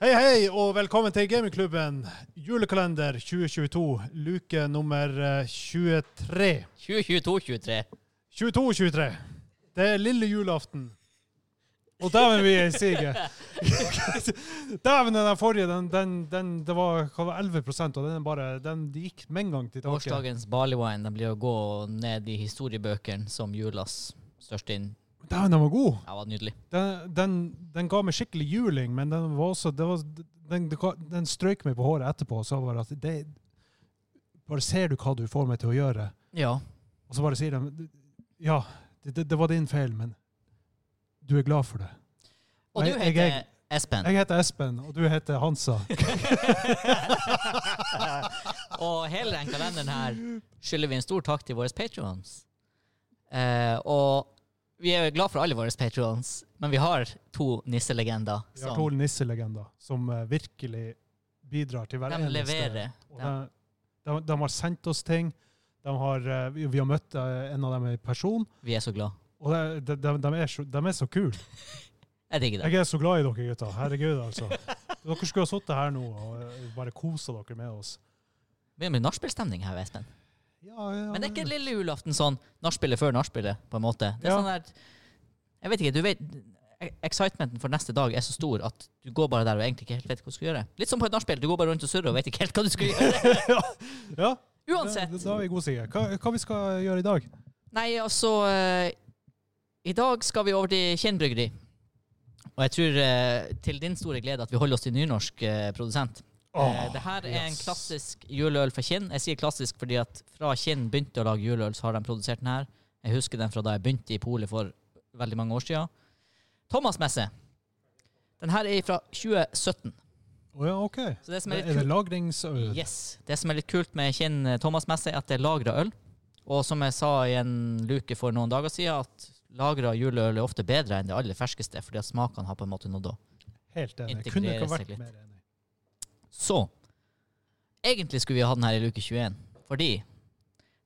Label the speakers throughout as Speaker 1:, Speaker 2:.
Speaker 1: Hei, hei, og velkommen til Gamingklubben julekalender 2022, luke nummer eh, 23.
Speaker 2: 2022-23.
Speaker 1: 22-23. Det er lille julaften. Og dæven, vi er i siget. dæven, den der forrige, den, den, den det var, hva var 11 og den, er bare, den de gikk med en gang tilbake.
Speaker 2: Årsdagens barleywine den blir å gå ned i historiebøkene som julas største inn.
Speaker 1: Dæven, den var god.
Speaker 2: Ja, det var nydelig.
Speaker 1: Den, den, den ga meg skikkelig juling, men den var også det var, den, det ga- den strøyk meg på håret etterpå og sa bare at det, Bare ser du hva du får meg til å gjøre?
Speaker 2: Ja.
Speaker 1: Og så bare sier de Ja, det, det, det var din feil, men du er glad for det.
Speaker 2: Og du
Speaker 1: Jeg- jeg-
Speaker 2: heter Espen.
Speaker 1: Jeg heter Espen, og du heter Hansa.
Speaker 2: og hele den kalenderen her skylder vi en stor takk til våre patrons. Eh, og vi er jo glad for alle våre patrons, men vi har to nisselegender
Speaker 1: Vi har
Speaker 2: som
Speaker 1: to nisselegender som eh, virkelig bidrar til hver
Speaker 2: de leverer.
Speaker 1: Og de, de, de har sendt oss ting. De har, eh, vi vi har møtt eh, en av dem i person,
Speaker 2: Vi er så glad.
Speaker 1: og de, de, de, de, er, så, de er så kule.
Speaker 2: Jeg digger det.
Speaker 1: Jeg er så glad i dere gutter. Herregud, altså. Dere skulle ha sittet her nå og eh, bare kosa dere med oss.
Speaker 2: Begynner med nachspielstemning her, Espen.
Speaker 1: Ja, ja,
Speaker 2: Men det er ikke lille julaften sånn nachspielet før nachspielet, på en måte. Det er
Speaker 1: Ja.
Speaker 2: sånn der Jeg vet ikke, du vet Excitementen for neste dag er så stor at du går bare der og egentlig ikke helt vet hva du skal gjøre. Litt som på et nachspiel, du går bare rundt og surrer og vet ikke helt hva du skal gjøre.
Speaker 1: ja,
Speaker 2: Uansett.
Speaker 1: Da, da er vi gode, Sigurd. Hva, hva vi skal gjøre i dag?
Speaker 2: Nei, altså eh, I dag skal vi over til Kinn bryggeri. Og jeg tror eh, til din store glede at vi holder oss til nynorsk eh, produsent.
Speaker 1: Åh,
Speaker 2: Eh, det her er en
Speaker 1: yes.
Speaker 2: klassisk juleøl fra Kinn. Jeg sier klassisk fordi at fra Kinn begynte å lage juleøl, så har de produsert den her. Jeg husker den fra da jeg begynte i polet for veldig mange år siden. Thomas Messe. Den her er fra 2017.
Speaker 1: Å ja, OK.
Speaker 2: Så det som
Speaker 1: Er
Speaker 2: er litt
Speaker 1: det
Speaker 2: kult,
Speaker 1: lagringsøl?
Speaker 2: yes. det som er litt kult med Kinn eh, Thomas Messe, er at det er lagra øl. Og som jeg sa i en luke for noen dager siden, at lagra juleøl er ofte bedre enn det aller ferskeste, fordi at smakene har på en måte nådd opp.
Speaker 1: Helt enig.
Speaker 2: Integrere
Speaker 1: Kunne ikke
Speaker 2: seg
Speaker 1: vært
Speaker 2: litt.
Speaker 1: mer enig.
Speaker 2: Så Egentlig skulle vi ha den her i luke 21, fordi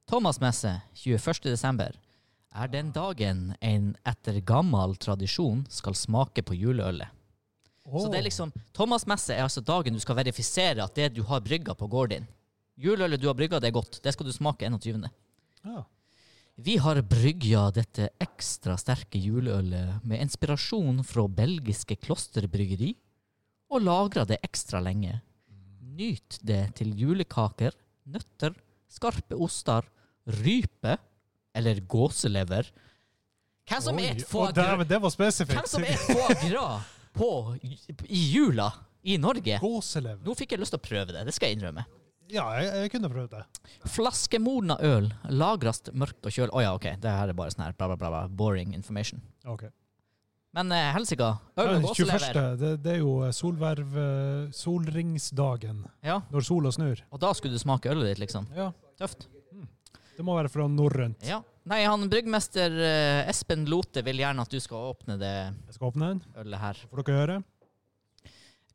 Speaker 2: Thomas Messe 21. desember er den dagen en etter gammel tradisjon skal smake på juleølet. Så det er liksom, Thomas Messe er altså dagen du skal verifisere at det du har brygga på gården din. Juleølet du har brygga, det er godt. Det skal du smake 21.
Speaker 1: ja.
Speaker 2: Vi har brygga dette ekstra sterke juleølet med inspirasjon fra belgiske klosterbryggeri, og lagra det ekstra lenge. Nyt det til julekaker, nøtter, skarpe oster, rype eller gåselever. Hvem som
Speaker 1: Oi,
Speaker 2: et
Speaker 1: å, dæven,
Speaker 2: foie
Speaker 1: det var spesifikt.
Speaker 2: gras på j- i jula i Norge?
Speaker 1: Gåselever.
Speaker 2: Nå fikk jeg lyst til å prøve det, det skal jeg innrømme.
Speaker 1: Ja, jeg, jeg kunne prøvd det.
Speaker 2: Flaskemodna øl lagres mørkt og kjølig Å ja, OK, det her er bare sånn her bla, bla, bla, bla, boring information.
Speaker 1: Ok.
Speaker 2: Men eh, helsika, øl
Speaker 1: Men 21.
Speaker 2: og gåselever.
Speaker 1: Det, det er jo solverv... eh, Solringsdagen.
Speaker 2: Ja,
Speaker 1: Når sola snur.
Speaker 2: og da skulle du smake ølet ditt, liksom.
Speaker 1: Ja.
Speaker 2: Tøft.
Speaker 1: Det må være fra norrønt.
Speaker 2: Ja. Nei, han bryggmester eh, Espen Lote vil gjerne at du skal åpne det
Speaker 1: Jeg skal åpne den.
Speaker 2: ølet her.
Speaker 1: Får dere høre?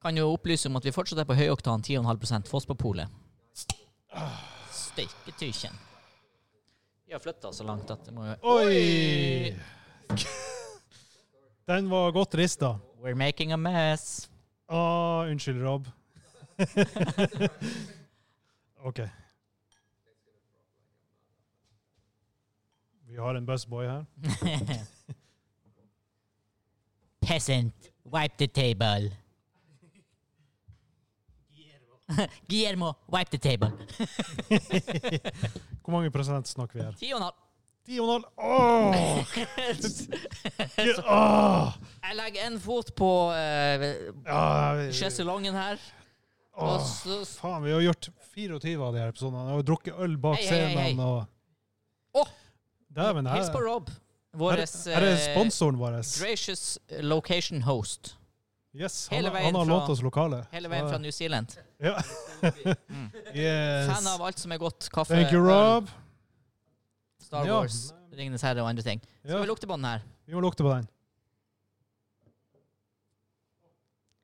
Speaker 2: Kan jo opplyse om at vi fortsatt er på høyoktan 10,5 Foss på polet. Steike tykjen. Vi har flytta så langt at det må jo
Speaker 1: Oi! Den var godt rista.
Speaker 2: We're making a mess.
Speaker 1: Ah, unnskyld, Rob. OK. Vi har en busboy her.
Speaker 2: Peasant, wipe the table. Guillermo, wipe the table.
Speaker 1: Hvor mange prosent snakker vi her?
Speaker 2: Ti og en halv.
Speaker 1: 10,5. Åh! Gud, åh!
Speaker 2: Jeg legger en fot på uh,
Speaker 1: Ja, vi-
Speaker 2: sjeselongen her. Og
Speaker 1: åh.
Speaker 2: så
Speaker 1: Faen, vi har gjort 24 av de her episodene og drukket øl bak
Speaker 2: Hei, hei, hei,
Speaker 1: scenen. og...
Speaker 2: Åh!
Speaker 1: Dæven, her,
Speaker 2: hils på Rob. Vår eh,
Speaker 1: her, her er sponsoren vår.
Speaker 2: gracious location host.
Speaker 1: Yes, han,
Speaker 2: hele
Speaker 1: har-
Speaker 2: veien
Speaker 1: han har
Speaker 2: fra-
Speaker 1: lånt oss lokalet.
Speaker 2: Hele veien fra New Zealand.
Speaker 1: Ja.
Speaker 2: Fan
Speaker 1: yes.
Speaker 2: av eh, alt som er godt. Kaffe,
Speaker 1: Thank you,
Speaker 2: øl,
Speaker 1: Rob.
Speaker 2: Star
Speaker 1: Ja.
Speaker 2: Wars, Ringenes herre og andre ting. Skal
Speaker 1: Ja.
Speaker 2: vi lukte på den her?
Speaker 1: Vi må lukte på den.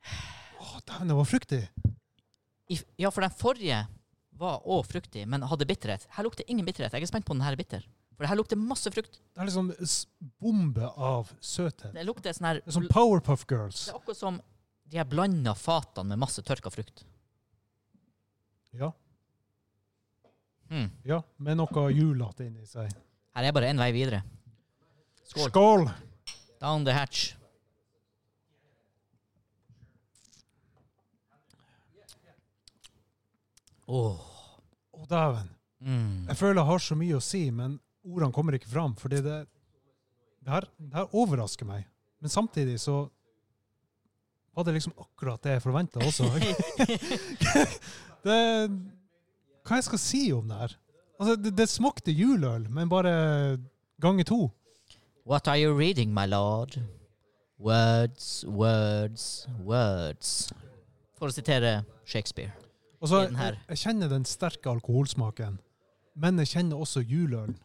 Speaker 1: Åh, Dæven, det var fruktig.
Speaker 2: I, ja, for den forrige var òg fruktig, men hadde bitterhet. Her lukter ingen bitterhet. Jeg er spent på om den her er bitter. For det her lukter masse frukt.
Speaker 1: Det er liksom s- bombe av søthet.
Speaker 2: Det lukter sånn her
Speaker 1: Det er som Powerpuff Girls.
Speaker 2: Det er akkurat som de her blanda fatene med masse tørka frukt.
Speaker 1: Ja.
Speaker 2: Hmm.
Speaker 1: ja. Med noe julete inni seg.
Speaker 2: Her er bare én vei videre. Skål.
Speaker 1: Skål!
Speaker 2: Down the hatch. Åh.
Speaker 1: Å, dæven.
Speaker 2: Mm.
Speaker 1: Jeg føler jeg har så mye å si, men ordene kommer ikke fram. fordi det, det, her, det her overrasker meg. Men samtidig så var det liksom akkurat det jeg forventa også. det, hva jeg skal si om det her? Altså, det, det smakte juleøl, men bare ganger to.
Speaker 2: What are you reading, my lord? Words, words, words. For å sitere Shakespeare.
Speaker 1: Altså,
Speaker 2: I den her.
Speaker 1: jeg, jeg kjenner den sterke alkoholsmaken, men jeg kjenner også julølen.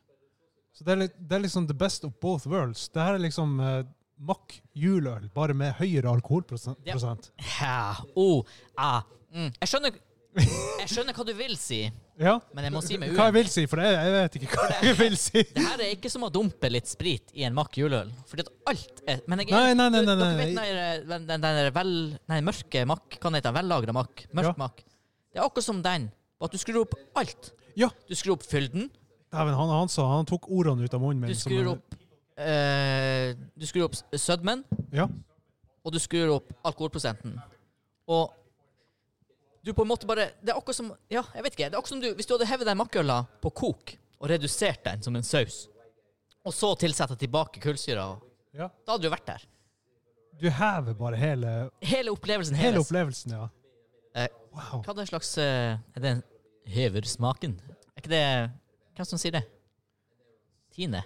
Speaker 1: Så det er, litt, det er liksom the best of both worlds. Det her er liksom eh, makk juløl, bare med høyere alkoholprosent.
Speaker 2: Ja.
Speaker 1: prosent.
Speaker 2: Ja, oh, ah, mm. jeg, skjønner, jeg skjønner hva du vil si,
Speaker 1: Ja.
Speaker 2: men jeg må si meg
Speaker 1: Hva jeg
Speaker 2: uenig.
Speaker 1: vil si, for jeg, jeg vet ikke hva jeg vil si.
Speaker 2: Det her er ikke som å dumpe litt sprit i en makk juløl. Fordi at alt er Men jeg
Speaker 1: Nei,
Speaker 2: er
Speaker 1: nei, nei, nei,
Speaker 2: Dere
Speaker 1: nei.
Speaker 2: vet den der, den, den der vel, nei, mørke makk Hva den heter den? Vellagra makk? Mørk
Speaker 1: Ja.
Speaker 2: makk. Det er akkurat som den, bare at du skrur opp alt.
Speaker 1: Ja.
Speaker 2: Du skrur opp fylden,
Speaker 1: Dæven, han, han sa han tok ordene ut av munnen min.
Speaker 2: du
Speaker 1: som-
Speaker 2: skrur opp eh, Du skrur opp s- sødmen,
Speaker 1: Ja.
Speaker 2: og du skrur opp alkoholprosenten. Og du på en måte bare Det er akkurat som Ja, jeg vet ikke. Det er akkurat som du, Hvis du hadde hevet den makkøla på kok og redusert den som en saus, og så tilsatt tilbake kullsyra,
Speaker 1: ja.
Speaker 2: da hadde du vært der.
Speaker 1: Du hever bare hele,
Speaker 2: Hele opplevelsen
Speaker 1: hele
Speaker 2: heves.
Speaker 1: opplevelsen, ja.
Speaker 2: Eh,
Speaker 1: Wow.
Speaker 2: Hva er det slags eh, Er det en hever smaken? Er ikke det Hvem som sier det? Tine?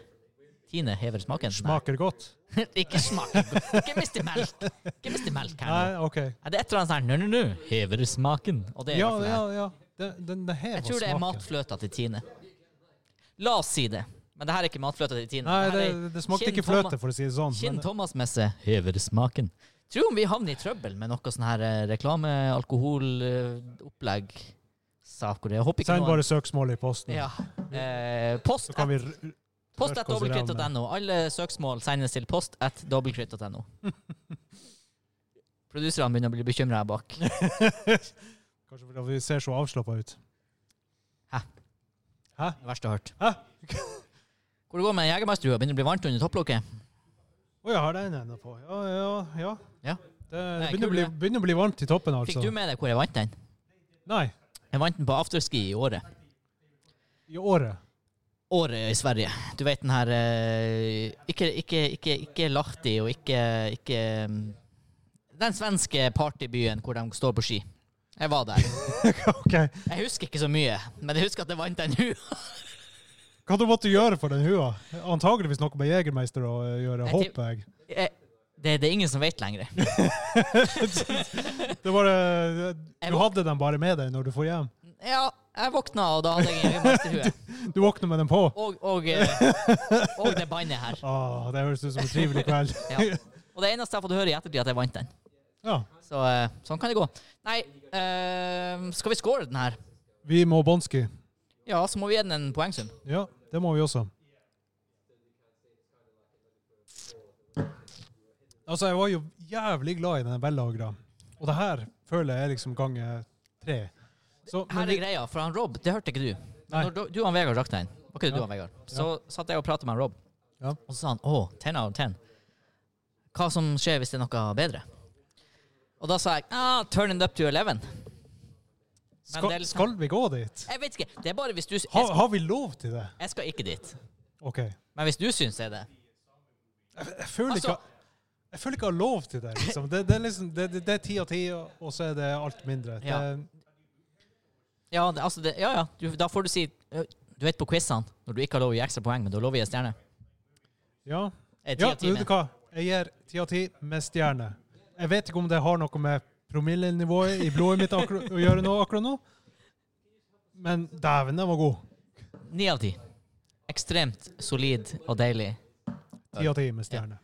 Speaker 2: Tine hever smaken? Nei.
Speaker 1: Smaker godt.
Speaker 2: ikke smaken. Ikke mist i melk. Ikke mist i melk her nå.
Speaker 1: Nei, OK.
Speaker 2: Er det et eller annet sånn her, nå, nå, nå, hever smaken? Og det er i
Speaker 1: Ja,
Speaker 2: hvert fall det her.
Speaker 1: ja, ja. Den, den, den hever
Speaker 2: Jeg tror det er
Speaker 1: smaken.
Speaker 2: matfløta til Tine. La oss si det. Men det her er ikke matfløta til Tine.
Speaker 1: Nei,
Speaker 2: her
Speaker 1: det,
Speaker 2: er
Speaker 1: det smakte
Speaker 2: Kinn
Speaker 1: ikke fløte, for å si det sånn.
Speaker 2: Kinn
Speaker 1: Men,
Speaker 2: Thomas-messe hever smaken. Tror om vi havner i trøbbel med noe sånn her eh, reklame, alkohol, eh, opplegg, saker. Jeg håper ikke
Speaker 1: send
Speaker 2: noen...
Speaker 1: bare søksmål i posten,
Speaker 2: Ja. Eh, post
Speaker 1: så kan vi r-
Speaker 2: post
Speaker 1: tørke
Speaker 2: at
Speaker 1: oss i ræva med.
Speaker 2: dobbeltkritt.no. Alle søksmål sendes til post at dobbeltkritt.no. Produserne begynner å bli bekymra her bak.
Speaker 1: Kanskje fordi vi ser så avslappa ut.
Speaker 2: Det verste jeg har hørt.
Speaker 1: Hæ?
Speaker 2: Hvor det går med jegermeisterstua? Begynner det å bli varmt under topplokket?
Speaker 1: Å, jeg har den ennå på. Ja, ja, ja.
Speaker 2: Ja.
Speaker 1: Det, det
Speaker 2: Nei,
Speaker 1: begynner, å
Speaker 2: kul,
Speaker 1: bli,
Speaker 2: det.
Speaker 1: begynner å bli varmt i toppen,
Speaker 2: Fikk
Speaker 1: altså.
Speaker 2: du med deg hvor jeg vant den?
Speaker 1: Nei,
Speaker 2: Jeg vant den på afterski i året.
Speaker 1: i året.
Speaker 2: Året i Sverige. Du vet den her eh, Ikke, ikke, ikke, ikke Lahti og ikke, ikke mm, Den svenske partybyen hvor de står på ski. Jeg var der.
Speaker 1: OK.
Speaker 2: Jeg husker ikke så mye, men jeg husker at jeg vant den nå.
Speaker 1: Hva du måtte gjøre for den hua? Antageligvis noe med Jegermeister å eh, gjøre,
Speaker 2: Jeg
Speaker 1: håper jeg.
Speaker 2: Jeg- Det, det er ingen som vet lenger.
Speaker 1: Det var, eh,
Speaker 2: Jeg
Speaker 1: du
Speaker 2: våk-
Speaker 1: hadde den bare med deg når du får hjem.
Speaker 2: Ja, jeg våkna, og da hadde jeg en jegermeisterhue.
Speaker 1: Du våkner med den på.
Speaker 2: Og, og, eh, og det bandet her.
Speaker 1: Ah, det høres ut som en trivelig kveld.
Speaker 2: Ja. Og det eneste jeg har fått høre i ettertid, er at jeg vant den.
Speaker 1: Ja.
Speaker 2: Så eh, sånn kan det gå. Nei, eh, skal vi score den her?
Speaker 1: Vi må bånski.
Speaker 2: Ja, så må vi gi den en poengsum.
Speaker 1: Ja, det må vi også. Altså, jeg var jo jævlig glad i den vellagra. Og det her føler jeg er liksom ganger tre. Så, men
Speaker 2: Her er
Speaker 1: vi,
Speaker 2: greia, for han Rob, det hørte ikke du.
Speaker 1: Nei.
Speaker 2: Men når du, du og han Vegard drakk den, var ikke det du
Speaker 1: Ja.
Speaker 2: og han Vegard, så satt jeg og pratet med han Rob.
Speaker 1: Ja.
Speaker 2: Og så sa han, åh, 10 out of 10. Hva som skjer hvis det er noe bedre? Og da sa jeg, ah, turn it up to 11. det er
Speaker 1: skal,
Speaker 2: liksom-
Speaker 1: skal vi gå dit?
Speaker 2: Jeg vet ikke, det er bare hvis du... Jeg
Speaker 1: Ha,
Speaker 2: skal,
Speaker 1: har vi lov til det?
Speaker 2: jeg skal ikke dit.
Speaker 1: OK. Jeg,
Speaker 2: Men hvis du synes det er det.
Speaker 1: jeg føler
Speaker 2: Altså-
Speaker 1: ikke jeg føler ikke jeg har lov til det. liksom. Det, det er liksom, det, det, det er ti av ti, og og så er det alt mindre. Det,
Speaker 2: Ja. Ja, det, altså det, ja, ja. Du, da får du si, ø, du vet på quizene, når du ikke har lov å gi ekstra poeng, men du har lov å gi en stjerne.
Speaker 1: ja.
Speaker 2: Eh, ti
Speaker 1: ja,
Speaker 2: av ti,
Speaker 1: vet du hva? Jeg gir ti av ti med stjerne. Jeg vet ikke om det har noe med promillenivået i blodet mitt akkur- å gjøre nå, akkurat nå, men dæven, den var god.
Speaker 2: men Ni av ti. Ekstremt solid og deilig.
Speaker 1: Ti av ti med stjerne.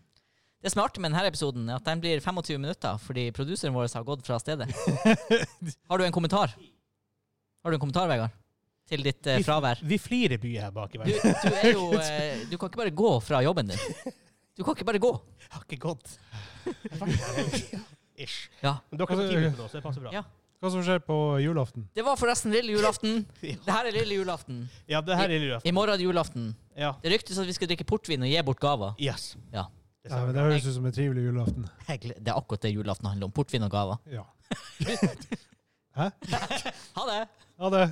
Speaker 2: Det som er artig med denne episoden, er at den blir 25 minutter fordi produseren vår har gått fra stedet. Har du en kommentar? Har du en kommentar, Vegard? Til ditt eh, fravær?
Speaker 3: Vi flirer mye her bak i
Speaker 2: Du,
Speaker 3: verden.
Speaker 2: du er jo eh, Du kan ikke bare gå fra jobben din. Du kan ikke bare gå.
Speaker 3: Jeg har ikke gått. Ish.
Speaker 2: Ja.
Speaker 3: Men dere er på tidlig på nå, så det passer bra.
Speaker 2: Ja.
Speaker 1: Hva som skjer på julaften?
Speaker 2: Det var forresten lille julaften.
Speaker 3: Ja.
Speaker 2: Det her er lille julaften.
Speaker 3: Ja, det her er lille
Speaker 2: I
Speaker 3: julaften.
Speaker 2: morgen er det julaften.
Speaker 3: Ja.
Speaker 2: Det ryktes at vi skal drikke portvin og gi bort gaver.
Speaker 3: Yes.
Speaker 2: Ja.
Speaker 3: Det
Speaker 1: Ja,
Speaker 3: stemmer.
Speaker 1: men det høres ut som en trivelig julaften.
Speaker 2: Jeg gle- Det er akkurat det julaften handler om. Portvin og gaver.
Speaker 1: Ja.
Speaker 2: Ha det!
Speaker 1: Ha det.